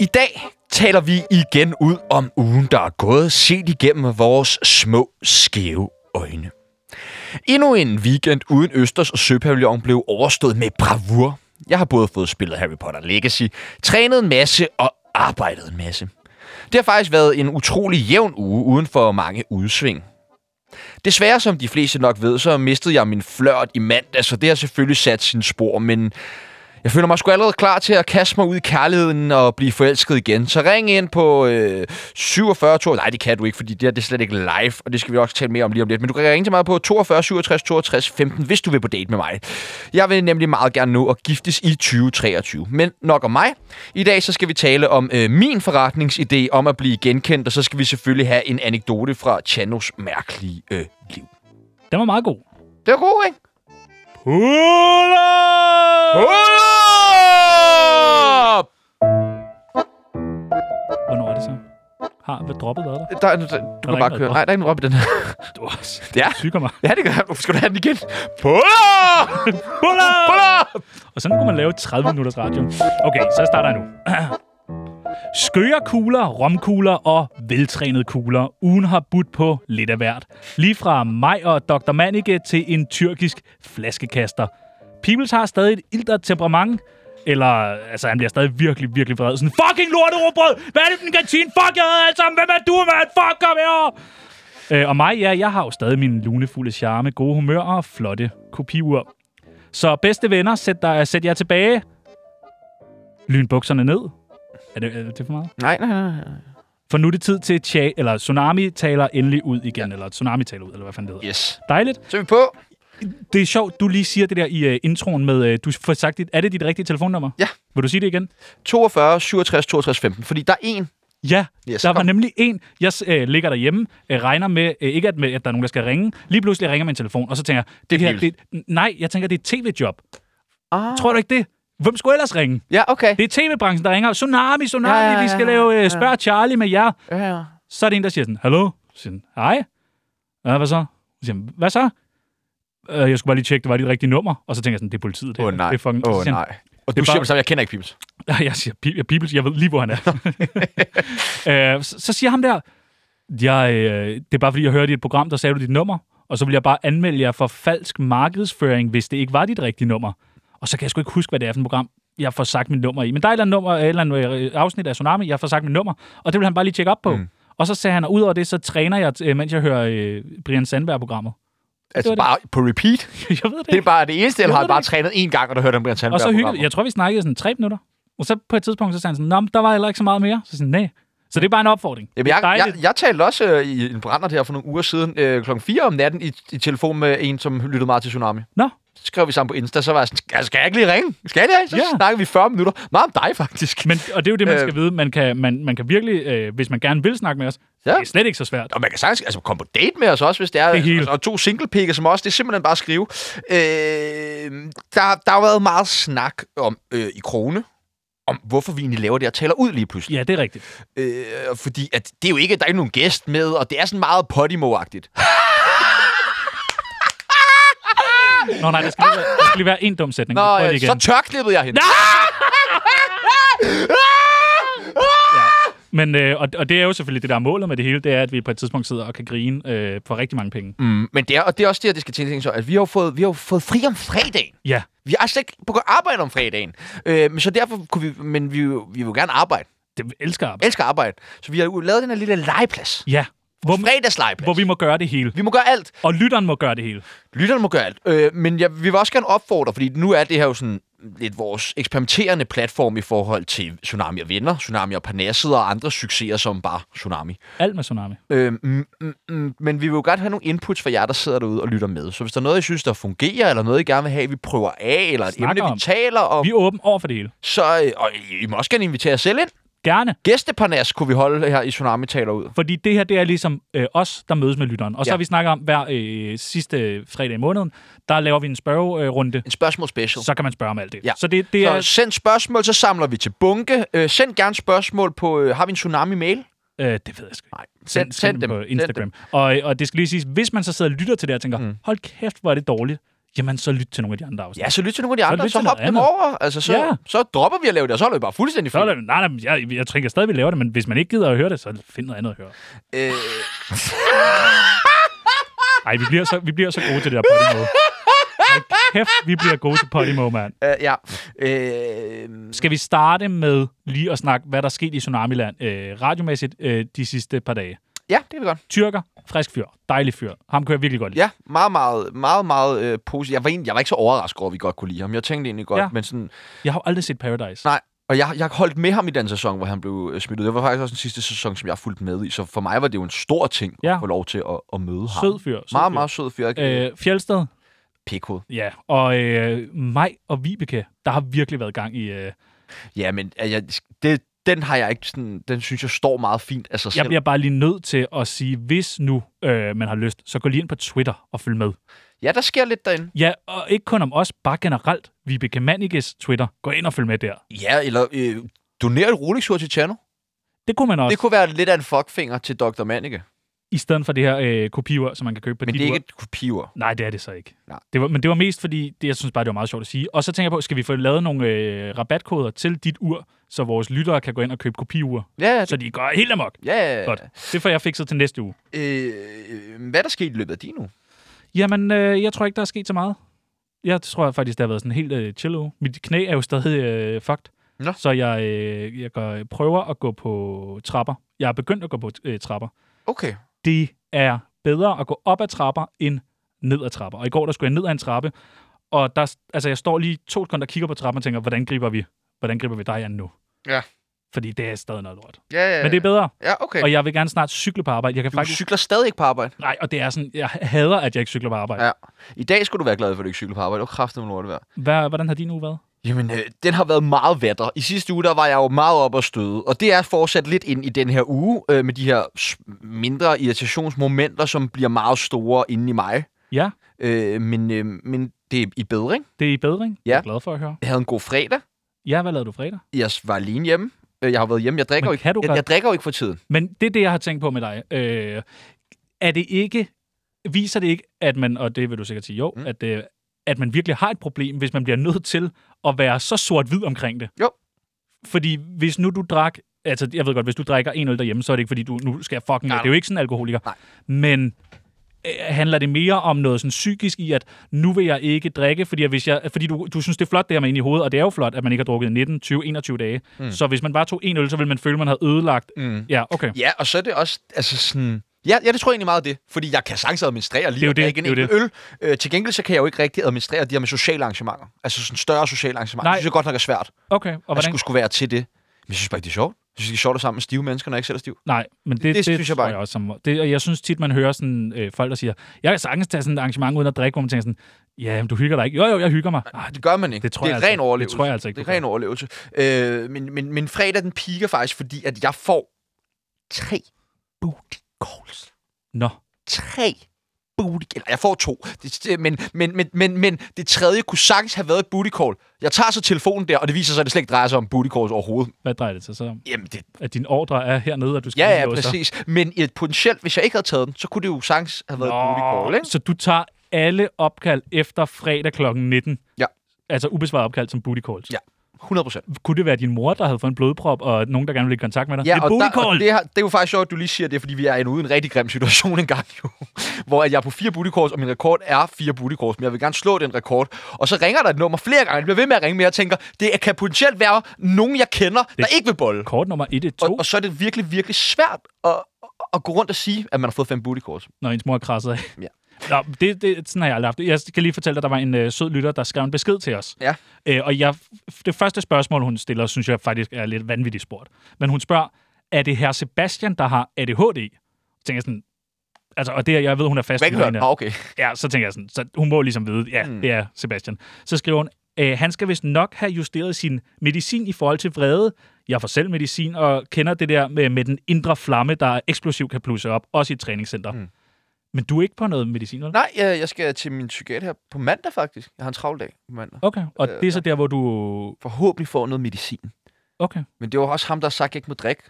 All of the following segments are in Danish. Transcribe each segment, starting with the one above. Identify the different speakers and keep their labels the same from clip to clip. Speaker 1: I dag taler vi igen ud om ugen, der er gået, set igennem vores små, skæve øjne. Endnu en weekend uden Østers og Søpavillon blev overstået med bravur. Jeg har både fået spillet Harry Potter Legacy, trænet en masse og arbejdet en masse. Det har faktisk været en utrolig jævn uge uden for mange udsving. Desværre, som de fleste nok ved, så mistede jeg min flørt i mandag, så det har selvfølgelig sat sin spor, men jeg føler mig sgu allerede klar til at kaste mig ud i kærligheden og blive forelsket igen. Så ring ind på øh, 47 to... Nej, det kan du ikke, fordi det her det er slet ikke live, og det skal vi også tale mere om lige om lidt. Men du kan ringe til mig på 42 67 62 15, hvis du vil på date med mig. Jeg vil nemlig meget gerne nå at giftes i 2023. Men nok om mig. I dag så skal vi tale om øh, min forretningsidé om at blive genkendt, og så skal vi selvfølgelig have en anekdote fra Chanos mærkelige øh, liv.
Speaker 2: Den var meget god.
Speaker 1: Det er god, ikke?
Speaker 2: Pull up!
Speaker 1: Hold op!
Speaker 2: Hvornår er det så? Har hvad droppet været der?
Speaker 1: Der, der, der, du
Speaker 2: der
Speaker 1: kan bare
Speaker 2: ikke
Speaker 1: køre.
Speaker 2: noget?
Speaker 1: Nej, der er ingen rop i den her.
Speaker 2: Du er også
Speaker 1: Ja.
Speaker 2: syg af mig.
Speaker 1: Ja, det gør jeg. Hvorfor skal du have den igen? Puller!
Speaker 2: Pull up!
Speaker 1: Puller!
Speaker 2: Og sådan kunne man lave 30 minutters radio. Okay, så starter jeg nu. Skøre kugler, romkugler og veltrænede kugler. Ugen har budt på lidt af hvert. Lige fra mig og Dr. Manike til en tyrkisk flaskekaster. Pibels har stadig et ildret temperament. Eller, altså, han bliver stadig virkelig, virkelig vred. Sådan, fucking lorterobrød! Hvad er det for en kantine? Fuck, jeg havde alle sammen! Hvem er du, mand? Fuck, kom herover! Øh, og mig, ja, jeg har jo stadig min lunefulde charme, gode humør og flotte kopiur. Så bedste venner, sæt, dig, sæt jer tilbage. Lyn bukserne ned. Er det, er det for meget?
Speaker 1: Nej, nej, nej. nej.
Speaker 2: For nu er det tid til, tja, eller Tsunami taler endelig ud igen, eller Tsunami taler ud, eller hvad fanden det hedder.
Speaker 1: Yes.
Speaker 2: Dejligt.
Speaker 1: Så er vi på.
Speaker 2: Det er sjovt, du lige siger det der i uh, introen med, uh, du får sagt, dit, er det dit rigtige telefonnummer?
Speaker 1: Ja.
Speaker 2: Vil du sige det igen?
Speaker 1: 42, 67, 62, 15. Fordi der er en.
Speaker 2: Ja,
Speaker 1: Yes,
Speaker 2: yes, der var
Speaker 1: kom.
Speaker 2: nemlig en, jeg øh, ligger derhjemme, øh, regner med, øh, ikke at, med, at der er nogen, der skal ringe. Lige pludselig ringer min telefon, og så tænker jeg, det,
Speaker 1: Det er
Speaker 2: her, det, nej, jeg tænker, det er et tv-job.
Speaker 1: Ah.
Speaker 2: Tror du ikke det? Hvem skulle ellers ringe?
Speaker 1: Ja, okay.
Speaker 2: Det er tv-branchen, der ringer. Tsunami, tsunami,
Speaker 1: Ja,
Speaker 2: ja,
Speaker 1: ja,
Speaker 2: ja,
Speaker 1: ja,
Speaker 2: ja. vi skal
Speaker 1: ja,
Speaker 2: lave
Speaker 1: ja.
Speaker 2: øh, Spørg Charlie med jer.
Speaker 1: Ja, ja.
Speaker 2: Så er det en, der siger sådan, hallo? Så siger den, hej. Ja, hvad så? Så siger han, hvad så? Øh, jeg skulle bare lige tjekke, det var dit rigtige nummer. Og så tænker jeg sådan, det er politiet. Det,
Speaker 1: Åh,
Speaker 2: her.
Speaker 1: nej.
Speaker 2: Det er fucking...
Speaker 1: Åh,
Speaker 2: så
Speaker 1: oh,
Speaker 2: siger han,
Speaker 1: nej. Og
Speaker 2: Det
Speaker 1: du
Speaker 2: er
Speaker 1: siger
Speaker 2: bare-
Speaker 1: det samme, jeg kender ikke Pibels.
Speaker 2: Ja, jeg siger, Bib- ja, Bibels, jeg ved lige, hvor han er. øh, så, så siger ham der, jeg, øh, det er bare fordi, jeg hørte i et program, der sagde du dit nummer, og så vil jeg bare anmelde jer for falsk markedsføring, hvis det ikke var dit rigtige nummer. Og så kan jeg sgu ikke huske, hvad det er for et program, jeg får sagt mit nummer i. Men der er et eller andet, nummer, et eller andet øh, afsnit af Tsunami, jeg får sagt mit nummer, og det vil han bare lige tjekke op på. Mm. Og så sagde han, og udover det, så træner jeg, øh, mens jeg hører øh, Brian Sandberg-programmet.
Speaker 1: Altså
Speaker 2: Det var det.
Speaker 1: bare på repeat.
Speaker 2: jeg ved det
Speaker 1: Det
Speaker 2: ikke.
Speaker 1: er bare det eneste, jeg
Speaker 2: Jeg
Speaker 1: har
Speaker 2: ved det
Speaker 1: bare trænet én gang, og der hørte om Brian Sandberg.
Speaker 2: Og så hyggede, jeg tror, vi snakkede sådan tre minutter. Og så på et tidspunkt, så sagde han sådan, Nå, men der var heller ikke så meget mere. Så sådan, nej. Så det er bare en opfordring.
Speaker 1: Jamen,
Speaker 2: det er
Speaker 1: jeg, jeg,
Speaker 2: dejligt.
Speaker 1: jeg talte også øh, i en brænder her for nogle uger siden, øh, klokken 4 om natten, i, i telefon med en, som lyttede meget til Tsunami.
Speaker 2: Nå.
Speaker 1: Så skrev vi sammen på Insta, så var jeg sådan, "Skal- skal jeg ikke lige ringe? Skal jeg det? Så
Speaker 2: Ja.
Speaker 1: snakkede vi 40 minutter. Meget om dig, faktisk.
Speaker 2: Men, og det er jo det, man
Speaker 1: Øh.
Speaker 2: skal vide. Man kan, man, man kan virkelig, øh, hvis man gerne vil snakke med os,
Speaker 1: Ja.
Speaker 2: ja. det er slet ikke så svært.
Speaker 1: Og man kan sagtens altså, komme på date med os også, hvis det er.
Speaker 2: Det hele.
Speaker 1: Og to singlepikker som også, det er simpelthen bare at skrive. Øh, der, der har været meget snak om øh, i Krone, om hvorfor vi egentlig laver det og taler ud lige pludselig.
Speaker 2: Ja, det er rigtigt.
Speaker 1: Øh, fordi at det er jo ikke, at der er ikke nogen gæst med, og det er sådan meget Podimo-agtigt.
Speaker 2: Nå nej, der skal lige være, der skal lige være en dum sætning.
Speaker 1: Nå,
Speaker 2: Prøv lige
Speaker 1: øh,
Speaker 2: igen.
Speaker 1: så tørklippede jeg hende.
Speaker 2: Men, øh, og, og det er jo selvfølgelig det, der er målet med det hele, det er, at vi på et tidspunkt sidder og kan grine øh, for rigtig mange penge. Mm.
Speaker 1: Mm, men det er, og det er også det, at det skal tænke så, at vi har jo fået, vi har jo fået fri om fredagen.
Speaker 2: Ja,
Speaker 1: Vi har slet ikke begyndt at arbejde om fredagen. Øh, men så derfor kunne vi, men vi, vil- vi vil jo gerne arbejde.
Speaker 2: det vi elsker arbejde.
Speaker 1: Elsker arbejde. Så vi har jo lavet den her lille legeplads.
Speaker 2: Ja, hvor,
Speaker 1: Fredagslegeplads.
Speaker 2: hvor vi må gøre det hele.
Speaker 1: Vi må gøre alt.
Speaker 2: Og lytteren må gøre det hele.
Speaker 1: Lytterne må gøre alt. Øh, men jeg, vi vil også gerne opfordre, fordi nu er det her jo sådan lidt vores eksperimenterende platform i forhold til Tsunami og Venner, Tsunami og Parnasset og andre succeser som bare Tsunami.
Speaker 2: Alt med Tsunami.
Speaker 1: Øh, mm, mm, mm, men vi vil jo godt have nogle inputs fra jer, der sidder derude og lytter med. Så hvis der er noget, I synes, der fungerer, eller noget, I gerne vil have, vi prøver af, eller et
Speaker 2: Snakker
Speaker 1: emne, vi
Speaker 2: om.
Speaker 1: taler om,
Speaker 2: Vi er åbne over for det hele.
Speaker 1: så øh, og I, I må også gerne invitere jer selv ind.
Speaker 2: Gerne.
Speaker 1: Gæsteparnas kunne vi holde her i Tsunami taler ud.
Speaker 2: Fordi det her, det er ligesom øh, os, der mødes med lytteren. Og så
Speaker 1: Ja.
Speaker 2: har vi snakket om hver øh, sidste fredag i måneden, der laver vi en spørgerunde.
Speaker 1: En spørgsmål special.
Speaker 2: Så kan man spørge om alt det.
Speaker 1: Ja.
Speaker 2: Så det, det
Speaker 1: Så
Speaker 2: er...
Speaker 1: send spørgsmål, så samler vi til bunke. Øh, send gerne spørgsmål på... Øh, har vi en Tsunami-mail?
Speaker 2: Øh, det ved jeg sgu ikke.
Speaker 1: Nej,
Speaker 2: Send, send dem på Instagram. Og, og det skal lige siges, hvis man så sidder og lytter til det og tænker, mm. hold kæft, hvor er det dårligt, jamen så lyt til nogle af de andre afsnit.
Speaker 1: Ja, så lyt til nogle af de andre,
Speaker 2: lyt
Speaker 1: så,
Speaker 2: til
Speaker 1: så hop
Speaker 2: noget
Speaker 1: dem
Speaker 2: andet.
Speaker 1: over. Altså, så,
Speaker 2: Ja.
Speaker 1: ja. så dropper vi at lave det, og så er det bare fuldstændig
Speaker 2: Så er
Speaker 1: fri.
Speaker 2: der, nej, nej, men jeg, jeg tænker stadig, vi laver det, men hvis man ikke gider at høre det, så find noget andet at høre.
Speaker 1: Øh,
Speaker 2: Ej, vi bliver så, vi bliver så gode til det der Podimo. Hold kæft, vi bliver gode til Podimo, mand.
Speaker 1: øh, ja. Øh,
Speaker 2: Skal vi starte med lige at snakke, hvad der er sket i Tsunamiland øh, radiomæssigt øh, de sidste par dage?
Speaker 1: ja, det kan vi godt.
Speaker 2: Tyrker, frisk fyr, dejlig fyr. Ham kører virkelig godt lide.
Speaker 1: Ja, meget, meget, meget, meget øh, positivt. Jeg var, egentlig, jeg var ikke så overrasket over, at vi godt kunne lide ham. Jeg tænkte egentlig godt,
Speaker 2: Ja.
Speaker 1: ja. men sådan...
Speaker 2: Jeg har jo aldrig set Paradise.
Speaker 1: Nej, og jeg, jeg holdt med ham i den sæson, hvor han blev øh, smidt ud. Det var faktisk også den sidste sæson, som jeg fulgte med i. Så for mig var det jo en stor ting
Speaker 2: Ja.
Speaker 1: at få lov til at, at møde ham.
Speaker 2: Sød fyr. Sød
Speaker 1: meget,
Speaker 2: fyr.
Speaker 1: meget sød fyr. Øh.
Speaker 2: Øh, Fjeldsted,
Speaker 1: Pikhoved.
Speaker 2: ja. Og øh, mig og Vibeke, der har virkelig været gang i... Øh,
Speaker 1: Ja, men øh, jeg, det, den har jeg ikke sådan... Den synes jeg står meget fint af sig
Speaker 2: jeg
Speaker 1: selv.
Speaker 2: bliver bare lige nødt til at sige, hvis nu øh, man har lyst, så gå lige ind på Twitter og følg med.
Speaker 1: Ja, der sker lidt derinde.
Speaker 2: Ja, og ikke kun om os, bare generelt. Vibeke Maniges Twitter. Gå ind og følg med der.
Speaker 1: Ja, eller øh, doner et Rolex-ur til Tjerno.
Speaker 2: Det kunne man også,
Speaker 1: Det kunne være lidt af en fuckfinger til Dr. Mannike.
Speaker 2: i stedet for det her øh, kopiur, som man kan købe på
Speaker 1: Men
Speaker 2: dit
Speaker 1: det er
Speaker 2: ur.
Speaker 1: ikke et kopiur.
Speaker 2: Nej, det er det så ikke.
Speaker 1: Nej.
Speaker 2: Det var, men det var mest fordi, det, jeg synes bare, det var meget sjovt at sige. Og så tænker jeg på, skal vi få lavet nogle øh, rabatkoder til dit ur, så vores lyttere kan gå ind og købe kopiur,
Speaker 1: Ja, ja,
Speaker 2: så de går helt amok.
Speaker 1: ja. ja.
Speaker 2: Godt. Det får jeg fikset til næste uge.
Speaker 1: Øh, hvad er der sket i løbet af din uge?
Speaker 2: Jamen, øh, jeg tror ikke, der er sket så meget. Jeg tror faktisk, det har været sådan en helt øh, chill uge. Mit knæ er jo stadig øh, fucked.
Speaker 1: Nå.
Speaker 2: Så jeg, øh, jeg gør, prøver at gå på trapper. Jeg er begyndt at gå på øh, trapper.
Speaker 1: Okay.
Speaker 2: det er bedre at gå op ad trapper end ned ad trapper. Og i går, der skulle jeg ned ad en trappe, og der, altså, jeg står lige to sekunder og kigger på trappen og tænker, hvordan griber vi, hvordan griber vi dig an nu?
Speaker 1: Ja.
Speaker 2: Fordi det er stadig noget lort.
Speaker 1: Ja, ja,
Speaker 2: Men det er bedre,
Speaker 1: ja okay.
Speaker 2: og jeg vil gerne snart cykle på arbejde. Jeg kan
Speaker 1: Du
Speaker 2: faktisk...
Speaker 1: cykler stadig ikke på arbejde.
Speaker 2: Nej, og det er sådan, jeg hader, at jeg ikke cykler på arbejde.
Speaker 1: Ja. I dag skulle du være glad for, at du ikke cykler på arbejde. Det var kraftigt, hvor lort det var.
Speaker 2: Hvad, hvordan har din uge været?
Speaker 1: Jamen, øh, den har været meget vatter. I sidste uge, der var jeg jo meget op og støde, og det er fortsat lidt ind i den her uge, øh, med de her s- mindre irritationsmomenter, som bliver meget store inde i mig.
Speaker 2: Ja,
Speaker 1: Øh, men, øh, men det er i bedring.
Speaker 2: det er i bedring.
Speaker 1: Ja.
Speaker 2: Jeg er glad for at høre.
Speaker 1: Jeg havde en god fredag.
Speaker 2: Ja, hvad lavede du fredag?
Speaker 1: Jeg s- var alene hjemme. Øh, Jeg har været hjemme. Jeg drikker,
Speaker 2: Men
Speaker 1: jo ikke,
Speaker 2: kan du
Speaker 1: jeg,
Speaker 2: godt-
Speaker 1: jeg drikker jo ikke for tiden.
Speaker 2: Men det er det, jeg har tænkt på med dig. Øh, er det ikke, viser det ikke, at man, og det vil du sikkert sige jo, mm.
Speaker 1: Mm.
Speaker 2: at, øh, at man virkelig har et problem, hvis man bliver nødt til at være så sort-hvid omkring det?
Speaker 1: Jo.
Speaker 2: Fordi hvis nu du drak, altså jeg ved godt, hvis du drikker en øl derhjemme, så er det ikke fordi, du nu skal jeg fucking,
Speaker 1: Nej,
Speaker 2: det er jo ikke sådan en alkoholiker.
Speaker 1: Nej.
Speaker 2: Men øh, handler det mere om noget sådan psykisk i, at nu vil jeg ikke drikke, fordi, jeg, hvis jeg, fordi du, du synes, det er flot, det her med ind i hovedet, og det er jo flot, at man ikke har drukket i 19, 20, 21 dage. Mm. Så hvis man bare tog en øl, så ville man føle, man havde ødelagt.
Speaker 1: Mm.
Speaker 2: Ja, okay.
Speaker 1: Ja, og så er det også, altså sådan... Ja, ja, det tror jeg egentlig meget af det, fordi jeg kan sagtens administrere
Speaker 2: Det er
Speaker 1: lige
Speaker 2: jo
Speaker 1: at
Speaker 2: det,
Speaker 1: drikke en
Speaker 2: det er jo
Speaker 1: enkelt øl. Øh, til gengæld så kan jeg jo ikke rigtig administrere de her med sociale arrangementer. Altså sådan større sociale arrangementer.
Speaker 2: Nej.
Speaker 1: Det synes jeg godt nok er svært,
Speaker 2: Okay, og
Speaker 1: og at
Speaker 2: hvordan...
Speaker 1: skulle, skulle være til det. Men jeg synes bare ikke, det er sjovt. Jeg synes, det er sjovt at være sammen med stive mennesker, når jeg ikke selv er stiv.
Speaker 2: Nej, men det, det,
Speaker 1: det
Speaker 2: det
Speaker 1: synes jeg bare
Speaker 2: tror jeg også. Som, det, og jeg synes tit, man hører sådan, øh, folk, der siger, jeg kan sagtens tage sådan et arrangement uden at drikke, hvor man tænker sådan, ja, men du hygger dig ikke. Jo, jo, jeg hygger mig. Ah,
Speaker 1: Det gør man ikke.
Speaker 2: Det tror
Speaker 1: det er ren
Speaker 2: jeg altså ikke. Det
Speaker 1: overlevelse.
Speaker 2: tror jeg altså ikke,
Speaker 1: Det
Speaker 2: du
Speaker 1: er ren overlevelse. Øh, men, men, men fredag, den piker faktisk, fordi at jeg får tre booty calls.
Speaker 2: Nå,
Speaker 1: Tre booty Eller jeg får to. Det, det, men, men, men, men, men det tredje kunne sagtens have været et booty call. Jeg tager så telefonen der, og det viser sig, at det slet ikke drejer sig om booty calls overhovedet.
Speaker 2: hvad drejer det sig så om?
Speaker 1: Jamen, det,
Speaker 2: At din ordre er hernede, og du skal
Speaker 1: ja, ja,
Speaker 2: udlåse dig?
Speaker 1: præcis. Men i et potentielt, hvis jeg ikke havde taget den, så kunne det jo sagtens have været et booty call,
Speaker 2: Nå,
Speaker 1: ikke?
Speaker 2: så du tager alle opkald efter fredag kl. 19?
Speaker 1: Ja.
Speaker 2: Altså ubesvaret opkald som booty calls.
Speaker 1: Ja. 100 procent.
Speaker 2: Kunne det være din mor, der havde fået en blodprop, og nogen, der gerne ville i kontakt med dig? det er
Speaker 1: og,
Speaker 2: booty
Speaker 1: der, og
Speaker 2: call!
Speaker 1: det, har, det er jo faktisk sjovt, at du lige siger det, fordi vi er i en uden rigtig grim situation engang jo. Hvor at jeg er på fire booty calls, og min rekord er fire booty calls, men jeg vil gerne slå den rekord. Og så ringer der et nummer flere gange, jeg bliver ved med at ringe, men jeg tænker, det kan potentielt være nogen, jeg kender, det... der ikke vil bolle.
Speaker 2: Kort nummer 112,
Speaker 1: Og, og så er det virkelig, virkelig svært at, at gå rundt og sige, at man har fået fem booty calls.
Speaker 2: når ens mor er krasset af.
Speaker 1: Ja.
Speaker 2: Nå, det, det, sådan har jeg aldrig haft det. Jeg skal lige fortælle dig, at der var en øh, sød lytter, der skrev en besked til os.
Speaker 1: Ja.
Speaker 2: Øh, og jeg, det første spørgsmål, hun stiller, synes jeg faktisk er lidt vanvittigt spurgt. Men hun spørger, er det her Sebastian, der har ADHD? Så tænker jeg sådan, altså, og det, er- jeg ved, hun er fast.
Speaker 1: Hvad ikke
Speaker 2: lytter
Speaker 1: hørt?
Speaker 2: inde.
Speaker 1: Nå, Ah, okay.
Speaker 2: Ja, så tænker jeg sådan, så hun må ligesom vide, ja, mm. det er Sebastian. Så skriver hun, "Øh, han skal vist nok have justeret sin medicin i forhold til vrede. Jeg får selv medicin og kender det der med, med den indre flamme, der eksplosivt kan blusse op, også i et træningscenter. Mm. Men du er ikke på noget medicin, vel?
Speaker 1: Nej, jeg, jeg skal til min psykiater her på mandag faktisk. Jeg har en travl dag på mandag.
Speaker 2: Okay, og
Speaker 1: Øh,
Speaker 2: det er så der, hvor du...
Speaker 1: Forhåbentlig får jeg noget medicin.
Speaker 2: Okay,
Speaker 1: Men det var også ham, der har sagt, at jeg ikke må drikke.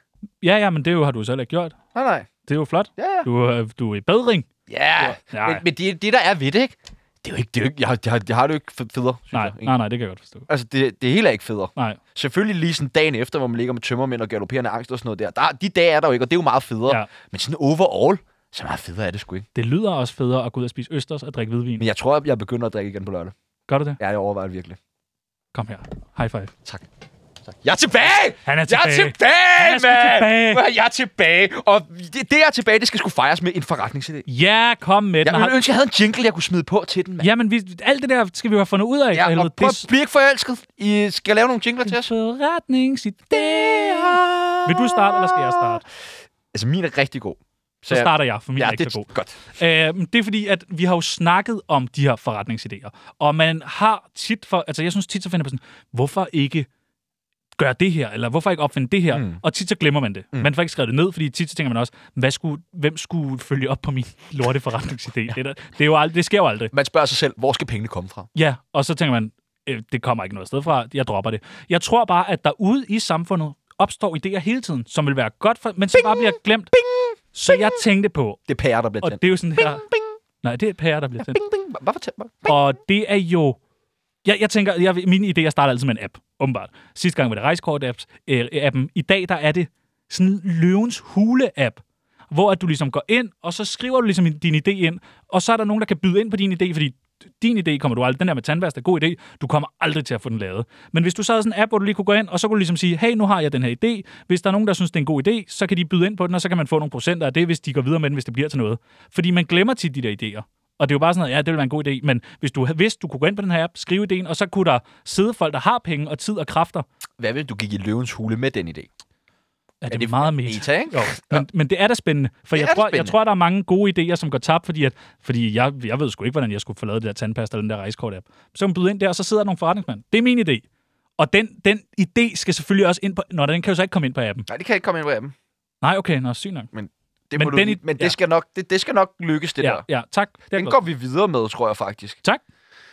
Speaker 2: Ja, ja, men det er jo, har du selv ikke gjort.
Speaker 1: Nej, nej.
Speaker 2: Det er jo flot.
Speaker 1: Ja, ja.
Speaker 2: Du, er- du er i bedring.
Speaker 1: Ja,
Speaker 2: Ja.
Speaker 1: men, men det, det, der er ved det, ikke? Det er jo ikke, det er jo ikke jeg, har- jeg, har- jeg har det jo ikke fed- federe, synes
Speaker 2: Nej,
Speaker 1: jeg. egentlig.
Speaker 2: nej, nej, det kan jeg godt forstå.
Speaker 1: Altså, det, det hele er ikke federe.
Speaker 2: Nej,
Speaker 1: Selvfølgelig lige sådan dagen efter, hvor man ligger med tømmermænd og galopperende angst og sådan noget der. der de dage er der jo ikke, og det er jo meget federe.
Speaker 2: Ja.
Speaker 1: Ja. Men sådan overall, så meget federe er det sgu ikke.
Speaker 2: det lyder også federe at gå ud og spise østers og drikke hvidvin.
Speaker 1: Men jeg tror, jeg begynder at drikke igen på lørdag.
Speaker 2: Gør du det?
Speaker 1: Ja, jeg overvejer det virkelig.
Speaker 2: Kom her. High five.
Speaker 1: Jeg er tilbage!
Speaker 2: Han er
Speaker 1: Jeg
Speaker 2: tilbage.
Speaker 1: er tilbage,
Speaker 2: Han er sgu tilbage.
Speaker 1: mand! Tilbage. Jeg er tilbage. Og det, det, jeg er tilbage, det skal sgu fejres med en forretningsidé.
Speaker 2: Ja, kom med den.
Speaker 1: Jeg ville
Speaker 2: Har...
Speaker 1: ønske, jeg havde en jingle, jeg kunne smide på til den, mand.
Speaker 2: Jamen, vi, alt det der skal vi jo have fundet ud af. for
Speaker 1: Ja,
Speaker 2: helvede.
Speaker 1: og prøv at blive ikke forelsket. I skal lave nogle jingler til
Speaker 2: det er
Speaker 1: os.
Speaker 2: forretningsidéer. Vil du starte, eller skal jeg starte?
Speaker 1: Altså, min er rigtig god.
Speaker 2: Så
Speaker 1: jeg-
Speaker 2: starter jeg, for min
Speaker 1: ja,
Speaker 2: er ikke
Speaker 1: det
Speaker 2: så god.
Speaker 1: er godt.
Speaker 2: Øh, men det er fordi, at vi har jo snakket om de her forretningsidéer, og man har tit for, altså jeg synes tit, så finder man sådan, hvorfor ikke gøre det her, eller hvorfor ikke opfinde det her, mm.
Speaker 1: Mm.
Speaker 2: og tit så glemmer man det. Mm. Man får ikke skrevet det ned, fordi tit så tænker man også, hvad skulle, hvem skulle følge op på min lorte forretningsidé? Det, er der, det, er jo aldrig, det sker jo aldrig.
Speaker 1: Man spørger sig selv, hvor skal pengene komme fra?
Speaker 2: Ja, og så tænker man, øh, det kommer ikke noget sted fra, jeg dropper det. Jeg tror bare, at derude i samfundet opstår idéer hele tiden, som vil være godt for, men som bare bliver glemt. Bing! Så jeg tænkte på,
Speaker 1: Det er pære, der bliver
Speaker 2: og
Speaker 1: tændt.
Speaker 2: det er jo sådan her...
Speaker 1: bing.
Speaker 2: Nej, det er pære, der bliver tændt.
Speaker 1: Bing, bing. Hvad fortæl mig?
Speaker 2: Og det er jo... Jeg, jeg tænker, jeg, mine idéer starter altid med en app, åbenbart. Sidste gang var det rejsekort-appen. Øh, appen. I dag der er det sådan en løvens hule-app, hvor at du ligesom går ind, og så skriver du ligesom din idé ind, og så er der nogen, der kan byde ind på din idé, fordi din idé kommer du aldrig, den der med tandvask er en god idé, du kommer aldrig til at få den lavet. Men hvis du så havde sådan en app, hvor du lige kunne gå ind, og så kunne du ligesom sige, hey, nu har jeg den her idé, hvis der er nogen, der synes, det er en god idé, så kan de byde ind på den, og så kan man få nogle procenter af det, hvis de går videre med den, hvis det bliver til noget. Fordi man glemmer tit de der idéer. Og det er jo bare sådan noget, ja, det ville være en god idé, men hvis du havde vidst, du kunne gå ind på den her app, skrive ideen, og så kunne der sidde folk, der har penge og tid og kræfter.
Speaker 1: Hvad vil du gik i løvens hule med den idé?
Speaker 2: Ja, det er
Speaker 1: det
Speaker 2: meget mere.
Speaker 1: meta, ikke?
Speaker 2: Jo, men, men det er da spændende, for
Speaker 1: Det
Speaker 2: jeg
Speaker 1: er da
Speaker 2: tror, jeg
Speaker 1: spændende.
Speaker 2: tror, der er mange gode idéer, som går tabt, fordi, at, fordi jeg, jeg ved sgu ikke, hvordan jeg skulle få lavet det der tandpasta eller den der rejsekort-app. Så kan man byde ind der, og så sidder der nogle forretningsmænd. Det er min idé. Og den, den idé skal selvfølgelig også ind på... Nå, den kan jo så ikke komme ind på appen.
Speaker 1: Nej, det kan jeg ikke komme ind på appen.
Speaker 2: Nej, okay, nå, syg nok.
Speaker 1: Det
Speaker 2: Men
Speaker 1: men, må
Speaker 2: den
Speaker 1: du,
Speaker 2: i-
Speaker 1: men det,
Speaker 2: ja.
Speaker 1: skal nok, det, det skal nok lykkes, det
Speaker 2: ja,
Speaker 1: der.
Speaker 2: ja, tak. Det er
Speaker 1: Den
Speaker 2: godt.
Speaker 1: går vi videre med, tror jeg faktisk.